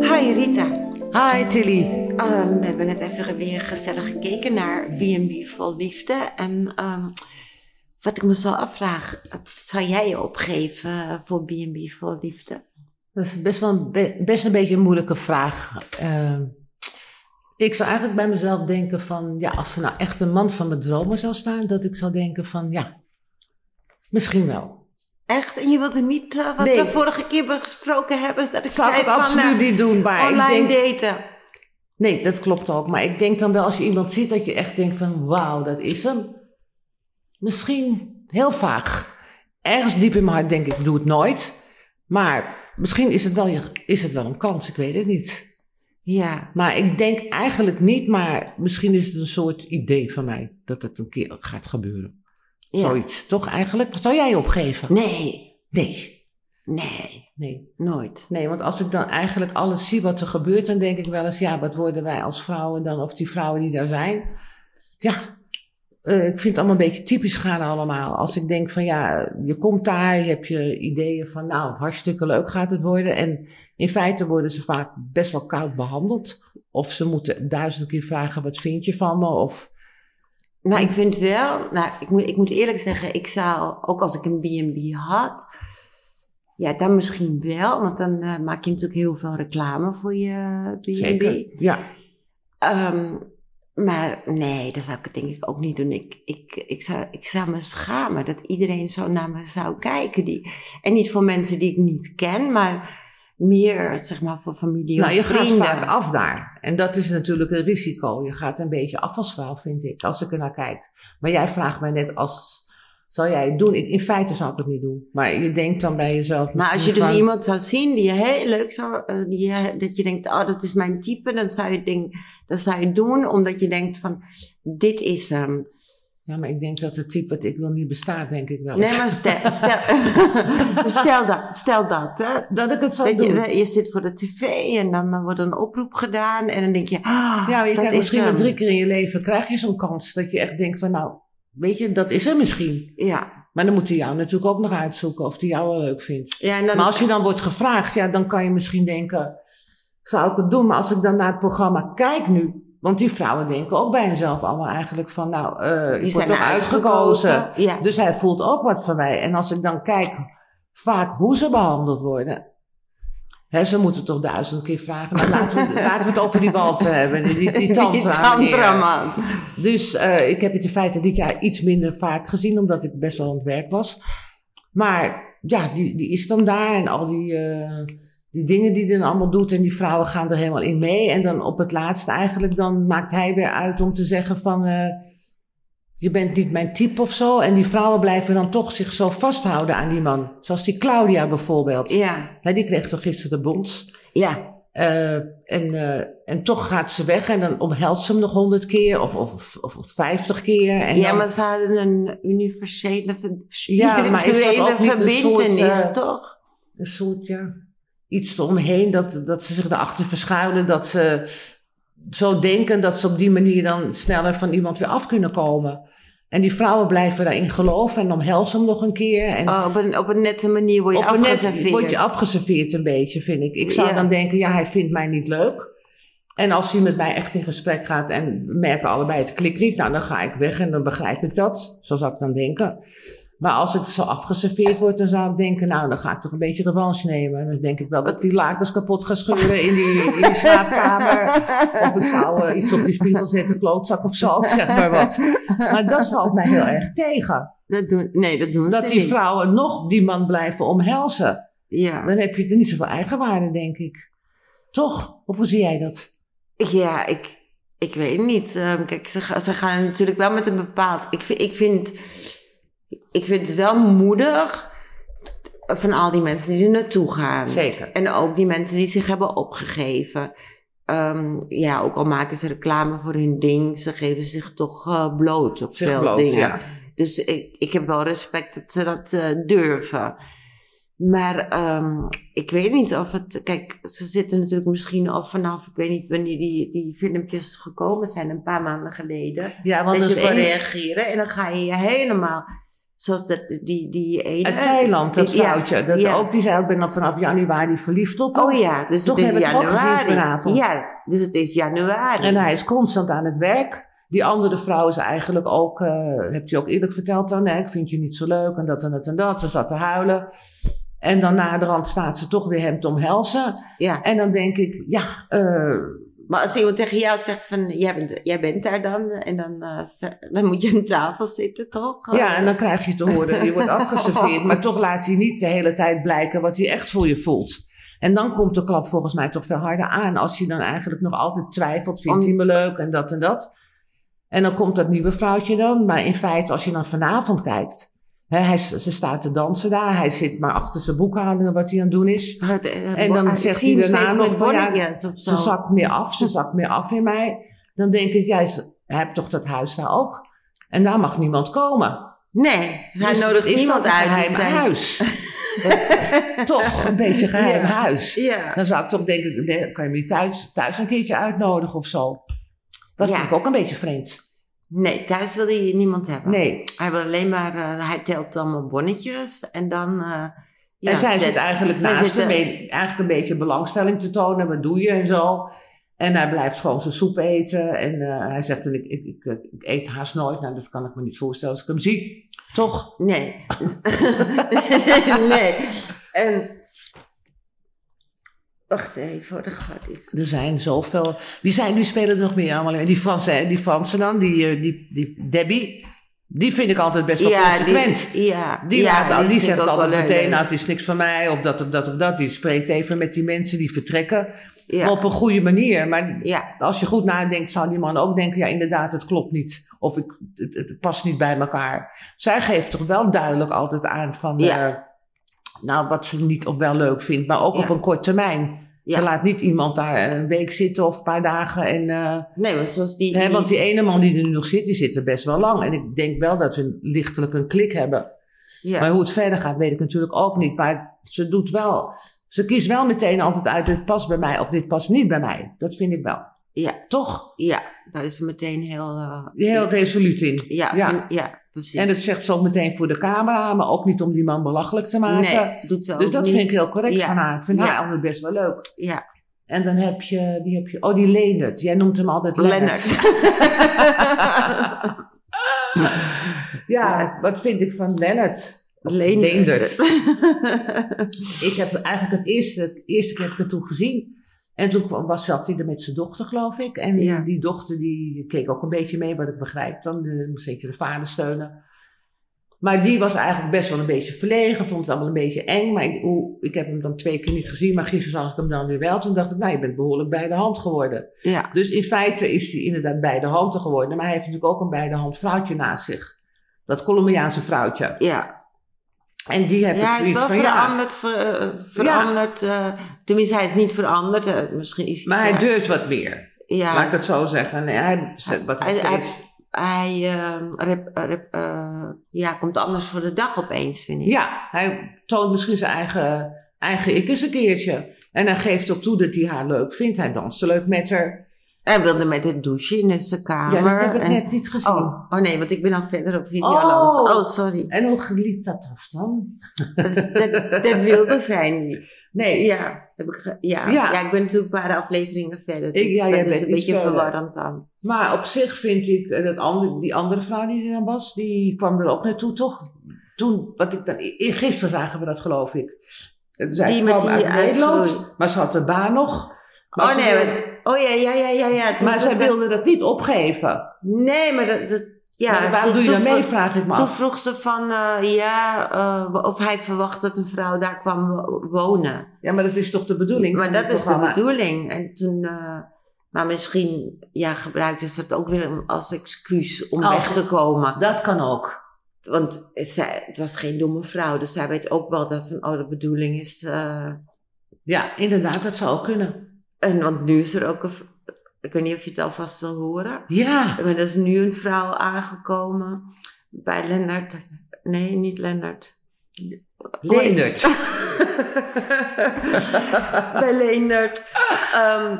Rita. Hi Tilly. Ehm, we hebben net even weer gezellig gekeken naar B&B Vol Liefde. En ehm, wat ik me zo afvraag, eh, zou jij je opgeven voor B&B Vol Liefde? Dat is best wel een, be- best een beetje een moeilijke vraag. Eh, ik zou eigenlijk bij mezelf denken van, ja, als er nou echt een man van mijn dromen zou staan, dat ik zou denken van, ja, misschien wel. Echt? En je wilde niet eh, wat Nee. we vorige keer besproken hebben? Dat ik Zou ik zei het van absoluut eh, niet doen, maar ik online denk, daten. nee, dat klopt ook. Maar ik denk dan wel als je iemand ziet dat je echt denkt van, wauw, dat is hem. Misschien heel vaag. Ergens diep in mijn hart denk ik, doe het nooit. Maar misschien is het wel, je- is het wel een kans, ik weet het niet. Ja. Maar ik denk eigenlijk niet, maar misschien is het een soort idee van mij dat het een keer gaat gebeuren. ja. Zoiets, toch eigenlijk? Wat zou jij opgeven? Nee, Nee. nee, Nee. nooit. Nee, want als ik dan eigenlijk alles zie wat er gebeurt, dan denk ik wel eens, ja, wat worden wij als vrouwen dan, of die vrouwen die daar zijn? Ja, eh, ik vind het allemaal een beetje typisch gaan allemaal. Als ik denk van, ja, je komt daar, je hebt je ideeën van, nou, hartstikke leuk gaat het worden. En in feite worden ze vaak best wel koud behandeld. Of ze moeten duizend keer vragen, wat vind je van me? Of Maar ik vind wel, nou, ik moet, ik moet eerlijk zeggen, ik zou, ook als ik een B&B had, ja, dan misschien wel, want dan eh, maak je natuurlijk heel veel reclame voor je eh, B&B. Zeker. Ja. Ehm, maar nee, dat zou ik het denk ik ook niet doen. Ik, ik, ik, zou, ik zou me schamen dat iedereen zo naar me zou kijken. Die, en niet voor mensen die ik niet ken, maar meer zeg maar voor familie Nou, of je vrienden. gaat vaak af daar. En dat is natuurlijk een risico. Je gaat een beetje af als vrouw, vind ik, als ik er naar kijk. Maar jij vraagt mij net als, zou jij het doen? Ik- in feite zou ik het niet doen. Maar je denkt dan bij jezelf. Maar als je misschien dus van- iemand zou zien die je heel leuk zou, eh, die je, dat je denkt, oh, dat is mijn type, dan zou je het ding, dat zou je het doen, omdat je denkt van, dit is hem. Ja, maar ik denk dat het type wat ik wil niet bestaat, denk ik wel. eens. Nee, maar stel, stel, stel dat, stel dat, hè. dat ik het zou Dat doen. je, je zit voor de tv en dan eh, wordt een oproep gedaan en dan denk je, ah, ja, maar je dat krijgt is misschien wel hem. drie keer in je leven, krijg je zo'n kans dat je echt denkt van nou, weet je, dat is er misschien. Ja, Maar dan moet hij jou natuurlijk ook nog uitzoeken of hij jou wel leuk vindt. ja en dan, Maar als je dan wordt gevraagd, ja, dan kan je misschien denken, zou ik het doen? Maar als ik dan naar het programma kijk nu, want die vrouwen denken ook bij henzelf allemaal eigenlijk van, nou, eh ik die word zijn toch uitgekozen. uitgekozen. Ja. Dus hij voelt ook wat van mij. En als ik dan kijk vaak hoe ze behandeld worden. Hè, ze moeten toch duizend keer vragen. Maar laten, we, laten we het over die Walter hebben. Die, die, die tantra. Die eh, meneer. tantraman. Dus eh, ik heb het in feite dit jaar iets minder vaak gezien, omdat ik best wel aan het werk was. Maar ja, die, die is dan daar en al die, eh, die dingen die hij dan allemaal doet en die vrouwen gaan er helemaal in mee. En dan op het laatst eigenlijk, dan maakt hij weer uit om te zeggen van, eh, je bent niet mijn type of zo. En die vrouwen blijven dan toch zich zo vasthouden aan die man. Zoals die Claudia bijvoorbeeld. Ja, Nou, die kreeg toch gisteren de bonds. ja, Eh, en, eh, en toch gaat ze weg en dan omhelst ze hem nog honderd keer of, of, of, of vijftig keer. En ja dan- maar ze hadden een universele, ver- Ja, maar is dat spirituele ook niet een verbindenis, soort, eh, toch? Een soort, ja, iets eromheen dat, dat ze zich erachter verschuilen. Dat ze zo denken dat ze op die manier dan sneller van iemand weer af kunnen komen. En die vrouwen blijven daarin geloven en omhelzen hem nog een keer. En Oh, op, een, op een nette manier word je op een net afgeserveerd. word je afgeserveerd een beetje, vind ik. Ik zou Ja. dan denken, ja, hij vindt mij niet leuk. En als hij met mij echt in gesprek gaat en we merken allebei het klikt niet, nou dan ga ik weg en dan begrijp ik dat. Zo zou ik dan denken. Maar als ik zo afgeserveerd word, dan zou ik denken, nou dan ga ik toch een beetje revanche nemen. En dan denk ik wel dat ik die lakens kapot ga scheuren in die, in die slaapkamer. Of ik zou eh, iets op die spiegel zetten, klootzak of zo, ik zeg maar wat. Maar dat valt mij heel erg tegen. dat doen, nee, dat doen Dat ze die niet. vrouwen nog die man blijven omhelzen. Ja. Dan heb je er niet zoveel eigenwaarde, denk ik. Toch? Of hoe zie jij dat? Ja, ik, ik weet niet. Ehm, kijk, ze, ga- ze gaan natuurlijk wel met een bepaald. Ik, vind- ik, vind, ik vind het wel moedig van al die mensen die er naartoe gaan. Zeker. En ook die mensen die zich hebben opgegeven. Ehm, ja, ook al maken ze reclame voor hun ding, ze geven zich toch eh, bloot op Zich veel bloot, dingen. ja. Dus ik, ik heb wel respect dat ze dat eh, durven. Maar ehm, ik weet niet of het. Kijk, ze zitten natuurlijk misschien al vanaf. Ik weet niet wanneer die, die filmpjes gekomen zijn, een paar maanden geleden. Ja, dat dat je is kan één- reageren en dan ga je je helemaal Zoals dat, die, die ene. Uit Thailand, dat die- ja, vrouwtje. dat ja. ook, die zei, ik ben al vanaf januari verliefd op hem. Oh ja, dus Toch het is heb ik het ook gezien januari. vanavond. Ja, dus het is januari. En hij is constant aan het werk. Die andere vrouw is eigenlijk ook, eh hebt u ook eerlijk verteld dan, hè, ik vind je niet zo leuk en dat en dat en dat. Ze zat te huilen. En dan naderhand staat ze toch weer hem te omhelzen. ja. En dan denk ik, ja, eh, Maar als iemand tegen jou zegt van, jij bent, jij bent daar dan, en dan, eh, ze- dan moet je aan tafel zitten, toch? Oh, ja, en dan krijg je te horen, je wordt afgeserveerd. Maar toch laat hij niet de hele tijd blijken wat hij echt voor je voelt. En dan komt de klap volgens mij toch veel harder aan. Als je dan eigenlijk nog altijd twijfelt, vindt Om- hij me leuk en dat en dat. En dan komt dat nieuwe vrouwtje dan. Maar in feite, als je dan vanavond kijkt. Hè, hij, ze staat te dansen daar. Hij zit maar achter zijn boekhoudingen wat hij aan het doen is. Ah, de- eh, En dan bo- ah, zegt ik zie hij hem daarna steeds nog met van, ja, bonnetjes of zo. Ze zakt meer af, ze zakt meer af in mij. Dan denk ik, jij hebt toch dat huis daar ook? En daar mag niemand komen. Nee, hij Dus nodigt is niemand dat een uit. die geheim zijn- huis. Eh, toch, een beetje geheim Ja. huis. Ja. Dan zou ik toch denken, nee, kan je me niet thuis, thuis een keertje uitnodigen of zo? Dat Ja. vind ik ook een beetje vreemd. Nee, thuis wil hij niemand hebben. Nee. Hij wil alleen maar, eh, hij telt allemaal bonnetjes en dan... eh, ja, en zij zet- zit eigenlijk zij naast zit, hem eh, een- eigenlijk een beetje belangstelling te tonen. Wat doe je en zo. En hij blijft gewoon zijn soep eten. En eh, hij zegt, ik, ik, ik, ik eet haast nooit. Nou, dat kan ik me niet voorstellen als ik hem zie. Toch? Nee. nee. En... Wacht even, hoor, er gaat iets. Er zijn zoveel. Wie zijn die spelen er nog meer allemaal? in? Die Fransen, die Fransen dan, die, eh, die, die Debbie, die vind ik altijd best wel consequent. Die, die, ja, ja, laat, al- die vind zegt ik ook altijd wel heel meteen, leuk. nou het is niks van mij, of dat of dat of dat. Die spreekt even met die mensen die vertrekken, ja. maar op een goede manier. Maar ja, als je goed nadenkt, zou die man ook denken, ja inderdaad, het klopt niet. Of ik, het, het past niet bij elkaar. Zij geeft toch wel duidelijk altijd aan van, Ja. eh, nou wat ze niet of wel leuk vindt, maar ook Ja. op een kort termijn. ja. Ze laat niet iemand daar een week zitten of een paar dagen. En, eh, Nee, maar zoals die... hè, die- want die ene man die er nu nog zit, die zit er best wel lang. En ik denk wel dat we lichtelijk een klik hebben. ja. Maar hoe het verder gaat, weet ik natuurlijk ook niet. Maar ze doet wel. Ze kiest wel meteen altijd uit: dit past bij mij of dit past niet bij mij. Dat vind ik wel. Ja. Toch? ja, daar is ze meteen heel... eh, Heel resoluut in. ja, ja. vind- ja, precies. En dat zegt ze ook meteen voor de camera, maar ook niet om die man belachelijk te maken. Nee, doet ze ook Dus dat niet. vind ik heel correct Ja. van haar. Ik vind Ja. haar altijd best wel leuk. Ja, En dan heb je, wie heb je? Oh, die Leendert. Jij noemt hem altijd Leendert. Lennart. Ja, wat vind ik van Lennart? Of Leendert. Ik heb eigenlijk het eerste, eerste keer heb ik het toen gezien. En toen kwam- was, zat hij er met zijn dochter, geloof ik. En Ja. die dochter die keek ook een beetje mee, wat ik begrijp. Dan eh, moest zeker de vader steunen. Maar die was eigenlijk best wel een beetje verlegen, vond het allemaal een beetje eng. Maar ik, oeh, ik heb hem dan twee keer niet gezien, maar gisteren zag ik hem dan weer wel. Toen dacht ik, nou, je bent behoorlijk bij de hand geworden. ja, Dus in feite is hij inderdaad bij de hand geworden. Maar hij heeft natuurlijk ook een bij de hand vrouwtje naast zich. Dat Colombiaanse vrouwtje. ja. En die heb ja, ik hij is zoiets wel van, ja, veranderd. ver- eh, veranderd eh, tenminste, hij is niet veranderd. eh, misschien is maar hij ja, durft wat meer. ja, Laat ik het zo zeggen. Nee, hij, zet wat hij, Hij- hij- steeds- Hij eh, rep- rep- eh, ja, komt anders voor de dag opeens, vind ik. ja, hij toont misschien zijn eigen, eigen ik eens een keertje. En hij geeft ook toe dat hij haar leuk vindt. Hij danst leuk met haar. Hij wilde met het douche in zijn kamer. Ja, dat heb ik en- net niet gezien. Oh, oh nee, want ik ben al verder op Videoland. Oh. Oh, sorry. En hoe liep dat af dan? Dat, dat, dat wilde zij niet. Nee, Ja, heb ik ge- ja. Ja. Ja. ik ben natuurlijk een paar afleveringen verder. Ik- ja, dus jij dat is een bent iets beetje verder. verwarrend dan. maar op zich vind ik eh, dat andere, die andere vrouw die er dan was, die kwam er ook naartoe, toch? Toen, wat ik dan, i- gisteren zagen we dat, geloof ik. Eh, Zij Die met kwam die uit Nederland, uitgroei. maar ze had de baan nog. Maar oh ze nee, wilde- want- oh ja, ja, ja, ja. ja. Toen maar was zij ze- wilde dat niet opgeven. Nee, maar dat... dat ja, Maar toen- waarom doe je toen dan mee, vroeg- vraag ik me Toen af. vroeg ze van, eh, ja, eh, of hij verwacht dat een vrouw daar kwam wo- wonen. Ja, maar dat is toch de bedoeling? Maar van dat dit is de programma? bedoeling. En toen, eh, maar misschien ja, gebruikte ze het ook weer om- als excuus om Als- weg te komen. Dat kan ook. Want zij, het was geen domme vrouw, dus zij weet ook wel dat van, oh, de bedoeling is. eh, Ja, inderdaad, dat zou ook kunnen. en want nu is er ook een. v- Ik weet niet of je het alvast wil horen. Ja, Maar er is nu een vrouw aangekomen bij Lennart. Nee, niet Lennart. Leendert. bij Leendert. Ehm,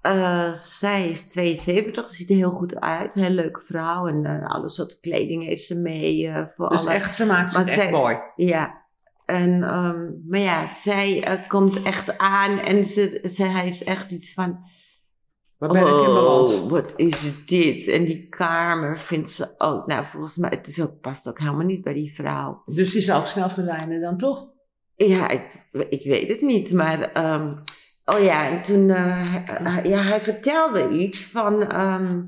Eh, zij is 72, ziet er heel goed uit. Heel leuke vrouw. En eh, alle soorten kleding heeft ze mee. eh, voor Dus alle... echt, ze maakt Maar het echt zij- mooi. Ja. En, ehm, maar ja, zij eh, komt echt aan en ze, ze heeft echt iets van... Waar ben ik in beland? "Oh, wat is dit? En die kamer vindt ze ook... Nou, volgens mij, het is ook, past ook helemaal niet bij die vrouw. Dus die zal ook snel verdwijnen dan toch? Ja, ik, ik weet het niet, maar... ehm, oh ja, en toen... eh, hij- ja, hij vertelde iets van... ehm,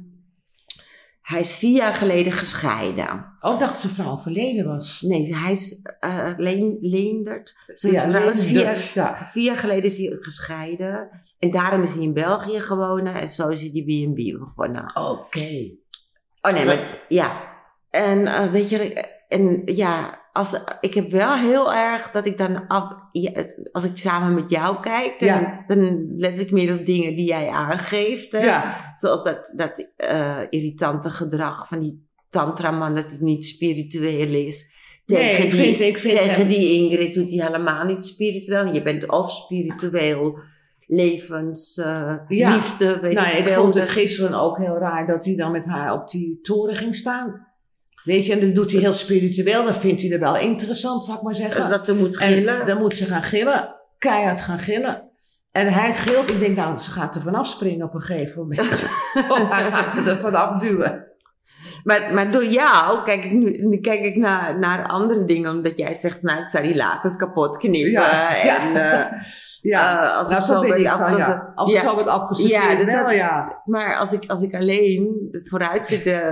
hij is vier jaar geleden gescheiden. Oh, ik dacht ze vrouw verleden was. Nee, hij is eh leen, leenderd. Zijn Ja, vrouw is vier, dus, ja. Vier jaar geleden is hij gescheiden. En daarom is hij in België gewonnen. En zo is hij die B&B begonnen. Oké. Oh nee, maar ja. En eh, weet je, en ja, als, ik heb wel heel erg dat ik dan af, ja, het- als ik samen met jou kijk, dan, Ja. dan let ik meer op dingen die jij aangeeft. hè. Ja, Zoals dat, dat eh, irritante gedrag van die tantraman, dat het niet spiritueel is. Nee, Tegen, ik die, vind- ik vind tegen hem- die Ingrid doet hij helemaal niet spiritueel. Je bent of spiritueel, levens, eh, Ja. liefde, weet nou, ik ik veel. vond het Dat- gisteren ook heel raar dat hij dan met haar op die toren ging staan. Weet je, en dat doet hij heel spiritueel, dan vindt hij er wel interessant, zal ik maar zeggen. dat ze moet En gillen. dan moet ze gaan gillen. Keihard gaan gillen. En hij gilt. Ik denk, nou, ze gaat er vanaf springen op een gegeven moment. of hij gaat er vanaf duwen. Maar, maar door jou kijk ik nu, nu kijk ik naar, naar andere dingen. Omdat jij zegt, nou, ik zou die lakens kapot knippen. Ja, ja. En, eh, Ja, eh, als nou, ik zo zo ben werd ik van, ja. afgeze- Als Ja. het zo wordt afgeserveerd, Ja, dus wel, dat- ja. Maar als ik, als ik alleen vooruit zit te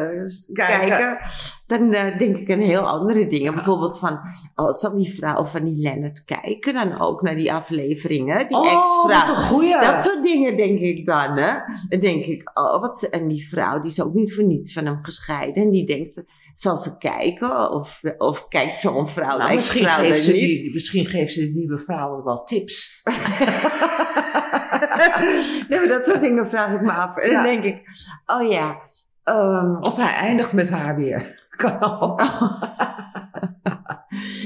Kijken. kijken, dan eh, denk ik aan heel andere dingen. Bijvoorbeeld van, oh, zal die vrouw van die Lennart kijken dan ook naar die afleveringen? Die Oh, wat ex-vrouw. een goeie. Dat soort dingen denk ik dan, hè. Dan denk ik, oh, wat, ze- en die vrouw, die is ook niet voor niets van hem gescheiden. En die denkt, zal ze kijken? Of, of kijkt zo'n vrouw Nou, naar misschien, ex-vrouw geeft ze dan niet? die, misschien geeft ze die nieuwe vrouwen wel tips. nee, maar dat soort dingen vraag ik me af. En Ja. dan denk ik, oh ja, ehm, Of hij eindigt met haar weer. Kan ook. Oh.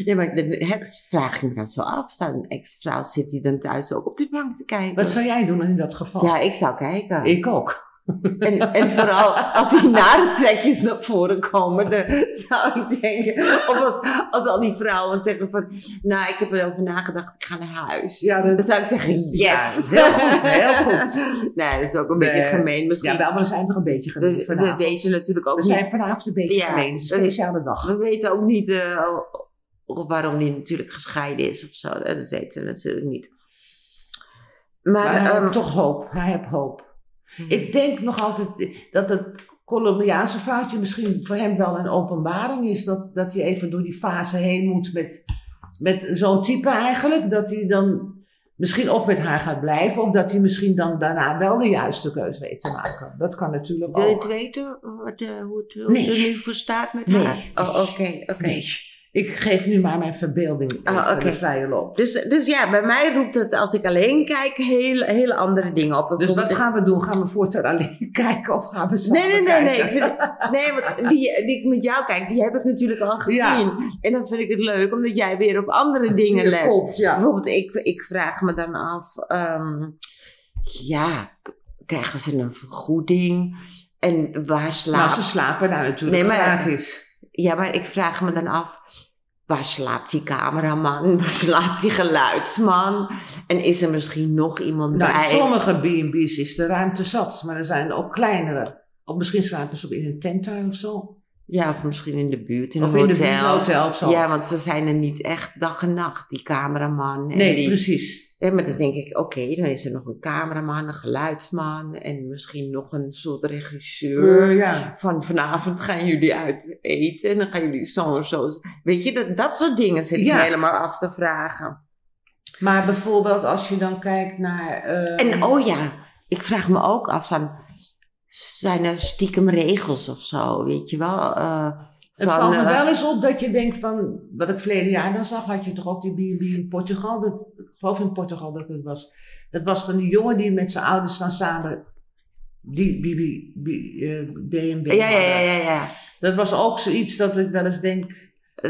Ja, maar ik dan- hè, vraag ik me dan zo af. Staat een ex-vrouw, zit die dan thuis ook op die bank te kijken? Wat zou jij doen in dat geval? Ja, ik zou kijken. Ik ook. En, en vooral als die nare trekjes naar voren komen, dan zou ik denken. Of als, als al die vrouwen zeggen van, nou, ik heb erover nagedacht, ik ga naar huis. Ja, dat- Dan zou ik zeggen, yes. Ja, heel goed, heel goed. Nee, dat is ook een Nee. beetje gemeen misschien. ja, wel, maar we zijn toch een beetje we, gemeen we vanavond. weten natuurlijk ook We niet zijn vanavond een beetje Ja, gemeen. dus Het is een dat- speciale dag. We weten ook niet eh, of waarom die natuurlijk gescheiden is of zo. Eh, Dat weten we natuurlijk niet. Maar, Maar hij ehm, Mm. heeft toch hoop. Hij heeft hoop. Ik denk nog altijd dat het Colombiaanse foutje misschien voor hem wel een openbaring is. Dat, dat hij even door die fase heen moet met, met zo'n type eigenlijk. Dat hij dan misschien of met haar gaat blijven. Of dat hij misschien dan daarna wel de juiste keuze weet te maken. Dat kan natuurlijk wil je het ook. weten wat, eh, hoe het hoe Nee. het er nu voor staat met Nee. haar? Oh, oké, oké. Nee, ik geef nu maar mijn verbeelding Ah, even oké. de vrije loop. Dus, dus ja, bij mij roept het als ik alleen kijk heel, hele andere dingen op. Dus wat Bijvoorbeeld- gaan we doen? Gaan we voortaan alleen kijken of gaan we samen Nee, nee, nee, kijken? nee. Ik vind- nee, want die, die ik met jou kijk, die heb ik natuurlijk al gezien. Ja. En dan vind ik het leuk, omdat jij weer op andere dingen Je let. kop, ja. Bijvoorbeeld, ik, ik vraag me dan af, ehm, ja, k- krijgen ze een vergoeding? En waar Nou, slaapt... ze slapen daar natuurlijk Nee, maar- gratis. Ja, maar ik vraag me dan af, waar slaapt die cameraman? Waar slaapt die geluidsman? En is er misschien nog iemand Nou, in bij? sommige B&B's is de ruimte zat, maar er zijn ook kleinere. Of misschien slapen ze ook in een tent daar of zo. Ja, of misschien in de buurt, in of een in hotel. een hotel of zo. Ja, want ze zijn er niet echt dag en nacht, die cameraman. En nee, die, precies. Ja, maar dan denk ik, oké, dan is er nog een cameraman, een geluidsman en misschien nog een soort regisseur. Eh, ja. Van vanavond gaan jullie uit eten en dan gaan jullie zo en zo. Weet je, dat, dat soort dingen zit Ja. ik me helemaal af te vragen. Maar bijvoorbeeld als je dan kijkt naar... eh, En oh ja, ik vraag me ook af van, zijn er stiekem regels of zo, weet je wel? eh, het valt me eh, wel eens op dat je denkt van... Wat ik verleden jaar dan zag, had je toch ook die B&B in Portugal. Dat, ik geloof in Portugal dat het was. Dat was dan die jongen die met zijn ouders dan samen... Die B&B... eh, B&B ja, ja, ja, hadden. ja, ja. Dat was ook zoiets dat ik wel eens denk...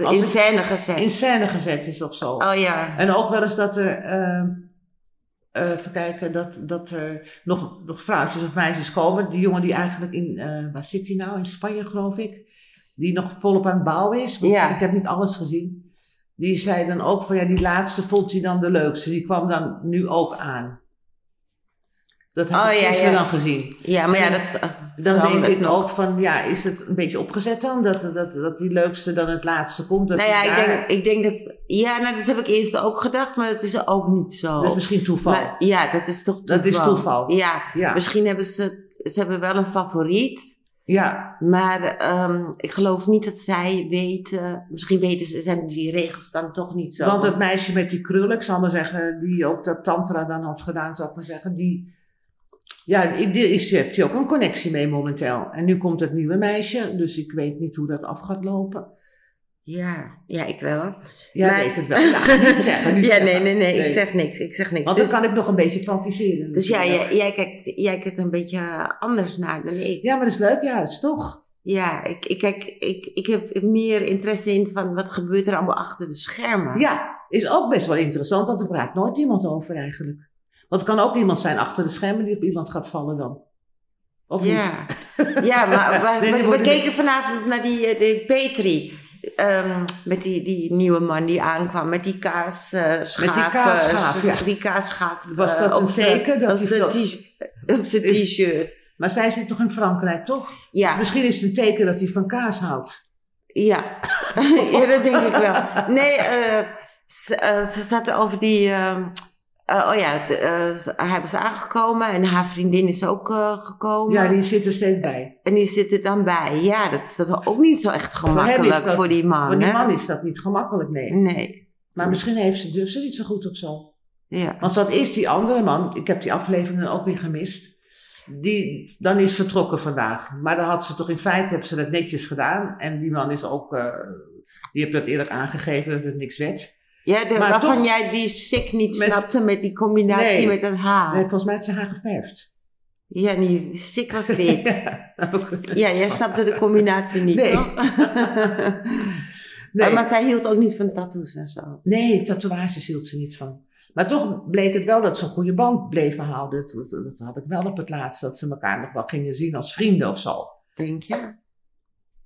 Als In ik- scène gezet. in scène gezet is of zo. Oh ja. En ook wel eens dat er, eh, eh, even kijken, dat, dat er nog, nog vrouwtjes of meisjes komen. Die jongen die eigenlijk in, eh, waar zit hij nou? In Spanje geloof ik. Die nog volop aan het bouwen is. Want Ja. Ik heb niet alles gezien. Die zei dan ook van ja, die laatste vond hij dan de leukste. Die kwam dan nu ook aan. Dat heb Oh, ik ja, gisteren ja. dan gezien. Ja, maar ja, dat... eh, Dan denk verandert ik nog. ook van ja, is het een beetje opgezet dan? Dat, dat, dat die leukste dan het laatste komt. Dat Nou is ja, ik daar- denk, ik denk dat... Ja, nou, dat heb ik eerst ook gedacht, maar dat is ook niet zo. Dat is misschien toeval. Maar ja, dat is toch toeval. Dat is toeval. Ja, ja. misschien hebben ze... Ze hebben wel een favoriet. ja, Maar ehm, ik geloof niet dat zij weten... Misschien weten ze, zijn die regels dan toch niet zo. want dat meisje met die krullen, ik zal maar zeggen, die ook dat tantra dan had gedaan, zal ik maar zeggen, die, ja, die is, daar heeft hij ook een connectie mee momenteel. En nu komt het nieuwe meisje, dus ik weet niet hoe dat af gaat lopen. Ja, ja, ik wel. Jij Maar- weet het wel, ja, niet zeggen. Niet ja, zeggen. nee, nee, nee, ik Nee. zeg niks. Ik zeg niks. Want dan Dus, kan ik nog een beetje fantaseren. dus ja, natuurlijk. jij, jij, kijkt, jij kijkt een beetje anders naar dan ik. Ja, maar dat is leuk, ja, dat is toch? Ja, ik, ik, kijk, ik, ik heb meer interesse in van wat gebeurt er allemaal achter de schermen. Ja, is ook best wel interessant, want er praat nooit iemand over eigenlijk. Want het kan ook iemand zijn achter de schermen die op iemand gaat vallen dan. Of niet? ja. ja maar we, Nee, we- die we worden- keken vanavond naar die, eh, die Petri. Ehm, met die, die nieuwe man die aankwam, met die kaasschaaf. Met die kaasschaaf, ja. Die kaasschaaf. Was dat eh, op een zijn- teken dat op hij zijn zo- t-shirt- Op zijn t-shirt. Maar zij zit toch in Frankrijk, toch? Ja. Misschien is het een teken dat hij van kaas houdt. Ja, ja dat denk ik wel. Nee, eh, ze, eh, ze zaten over die. ehm, eh, oh ja, de, eh, ze- hij was aangekomen en haar vriendin is ook eh, gekomen. Ja, die zit er steeds bij. En die zit er dan bij. Ja, dat is toch ook niet zo echt hem is gemakkelijk voor, dat- die man. Voor die Ah, hè? Mm. man is dat niet gemakkelijk, nee. Nee. Maar misschien heeft ze, durft ze niet zo goed of zo. Ja. Want dat is die andere man, ik heb die aflevering dan ook weer gemist. Die dan is vertrokken vandaag. Maar dan had ze toch in feite, hebben ze dat netjes gedaan. En die man is ook, eh, die heeft dat eerlijk aangegeven dat het niks werd. Ja, de- Maar waarvan toch- jij die sick niet Met- snapte met die combinatie Nee. met dat haar. Nee, volgens mij heeft ze haar geverfd. Ja, die sick was dit. nee. ja, jij snapte de combinatie niet, Nee. toch? Ah, Maar zij hield ook niet van tattoos en zo. Nee, tatoeages hield ze niet van. Maar toch bleek het wel dat ze een goede band bleven houden. Dat, dat- dat had ik wel op het laatst, dat ze elkaar nog wel gingen zien als vrienden of zo. Denk je?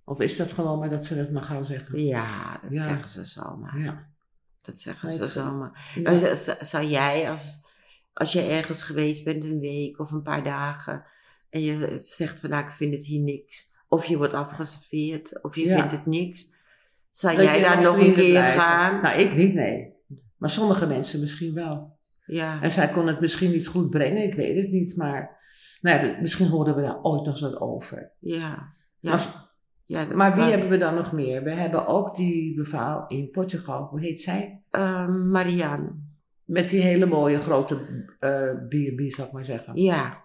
Of is dat gewoon maar dat ze dat maar gaan zeggen? Ja, dat Ja. zeggen ze zomaar. Ja. Dat zeggen Nee, ze ik- zomaar. Maar ja. z- z- Zou jij, als, als je ergens geweest bent een week of een paar dagen... en je zegt van, nou, ik vind het hier niks... of je wordt afgeserveerd, of je Ja. vindt het niks... zou Dat jij je daar nog een vrienden keer blijven. gaan? Nou, ik niet, nee. Maar sommige mensen misschien wel. Ja. En zij kon het misschien niet goed brengen, ik weet het niet. Maar nou ja, misschien hoorden we daar ooit nog eens wat over. ja. Ja. Maar, ja, dat maar wie kan. hebben we dan nog meer? We hebben ook die mevrouw in Portugal, hoe heet zij? Eh, Marianne. Met die hele mooie grote eh, B&B, zou ik maar zeggen. Ja.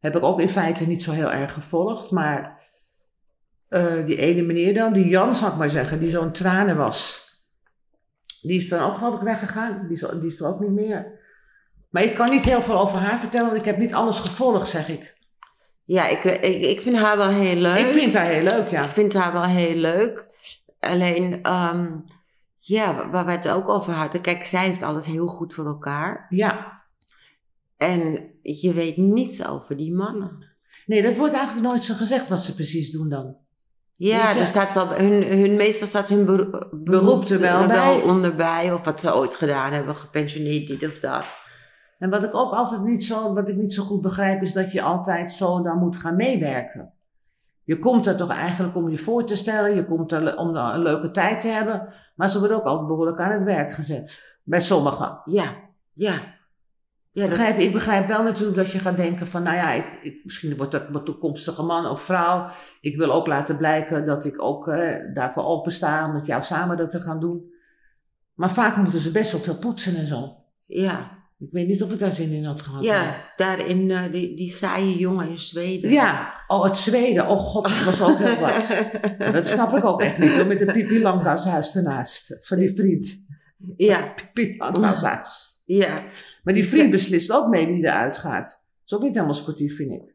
Heb ik ook in feite niet zo heel erg gevolgd, maar eh, die ene meneer dan, die Jan, zou ik maar zeggen, die zo'n tranen was. Die is dan ook, geloof ik, weggegaan. Die is, die is er ook niet meer. Maar ik kan niet heel veel over haar vertellen, want ik heb niet alles gevolgd, zeg ik. Ja, ik, ik, ik vind haar wel heel leuk. Ik vind haar heel leuk, ja. Ik vind haar wel heel leuk. Alleen, ehm, ja, waar we het ook over hadden. Kijk, zij heeft alles heel goed voor elkaar. Ja. En je weet niets over die mannen. Nee, dat wordt eigenlijk nooit zo gezegd wat ze precies doen dan. Ja, Dus ja. er staat wel, hun, hun, meestal staat hun beroep, Beroep er wel bij. onderbij. Of wat ze ooit gedaan hebben, gepensioneerd, dit of dat. En wat ik ook altijd niet zo, wat ik niet zo goed begrijp, is dat je altijd zo dan moet gaan meewerken. Je komt er toch eigenlijk om je voor te stellen, je komt er le- om een leuke tijd te hebben, maar ze worden ook altijd behoorlijk aan het werk gezet. Bij sommigen. Ja, ja. ja dat- Begrijp, ik begrijp wel natuurlijk dat je gaat denken van, nou ja, ik, ik, misschien wordt dat mijn toekomstige man of vrouw. Ik wil ook laten blijken dat ik ook eh, daarvoor opensta om met jou samen dat te gaan doen. Maar vaak moeten ze best wel veel poetsen en zo. ja, Ik weet niet of ik daar zin in had gehad. ja, daar in eh, die, die saaie jongen in Zweden. Ja, oh, het Zweden. Oh god, dat was ook heel wat. Dat snap ik ook echt niet. hoor, Met het Pipi Langhuis ernaast. Van die vriend. ja, Pipi Langhuis. ja. Maar die vriend beslist ook mee wie eruit gaat. Dat is ook niet helemaal sportief, vind ik.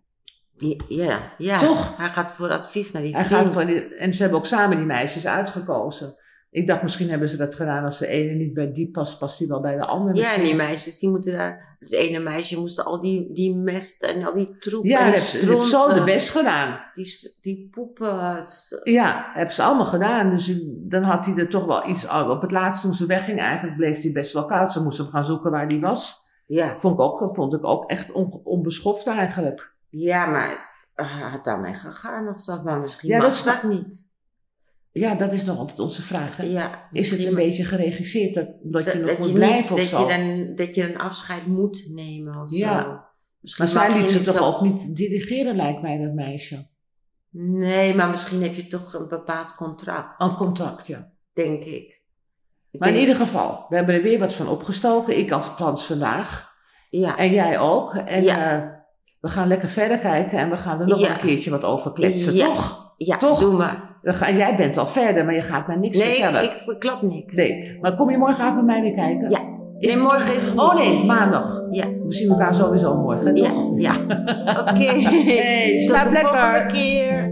Ja, ja, ja. Toch? Hij gaat voor advies naar die Hij vriend. gaat van die- en ze hebben ook samen die meisjes uitgekozen. Ik dacht, misschien hebben ze dat gedaan als de ene niet bij die past, past die wel bij de andere. Ja, misschien. en die meisjes, die moeten daar... Het ene meisje moest al die, die mest en al die troep Ja, en die dat hebben ze- dat hebben ze zo stronten, de best gedaan. Die, s- die poepen. het is- Ja, hebben ze allemaal gedaan. Dus dan had hij er toch wel iets aan. Op het laatst toen ze wegging, eigenlijk bleef hij best wel koud. Ze moest hem gaan zoeken waar hij was. Ja, Vond ik ook, vond ik ook echt on- onbeschoft eigenlijk. ja maar eh, had daarmee gegaan of zo, maar misschien Ja, ja, dat dat is- dat niet. Ja, dat is nog altijd onze vraag. hè. Ja, Is het misschien een beetje geregisseerd dat, dat je nog dat moet je, niet, blijven of dat, zo? je dan, dat je een afscheid moet nemen of Ja. zo. Misschien Maar zij mag je liet ze niet toch zo- ook niet dirigeren, lijkt mij, dat meisje. Nee, maar misschien heb je toch een bepaald contract, Aan contact, ja. denk ik. Ik Maar in denk- ieder geval, we hebben er weer wat van opgestoken. Ik althans vandaag. Ja, En jij ook. En Ja. eh, we gaan lekker verder kijken en we gaan er nog Ja. een keertje wat over kletsen, Ja. toch? ja toch? doe maar. Dan ga, jij bent al verder, maar je gaat mij niks Nee, vertellen. ik, ik verklap niks. Nee, maar kom je morgenavond bij mij weer kijken? Ja. Is- Nee, morgen is het niet. Oh nee, maandag. Ja, We zien elkaar sowieso morgen, ja, toch? ja. Oké. Hey, Tot slaap de volgende lekker. keer.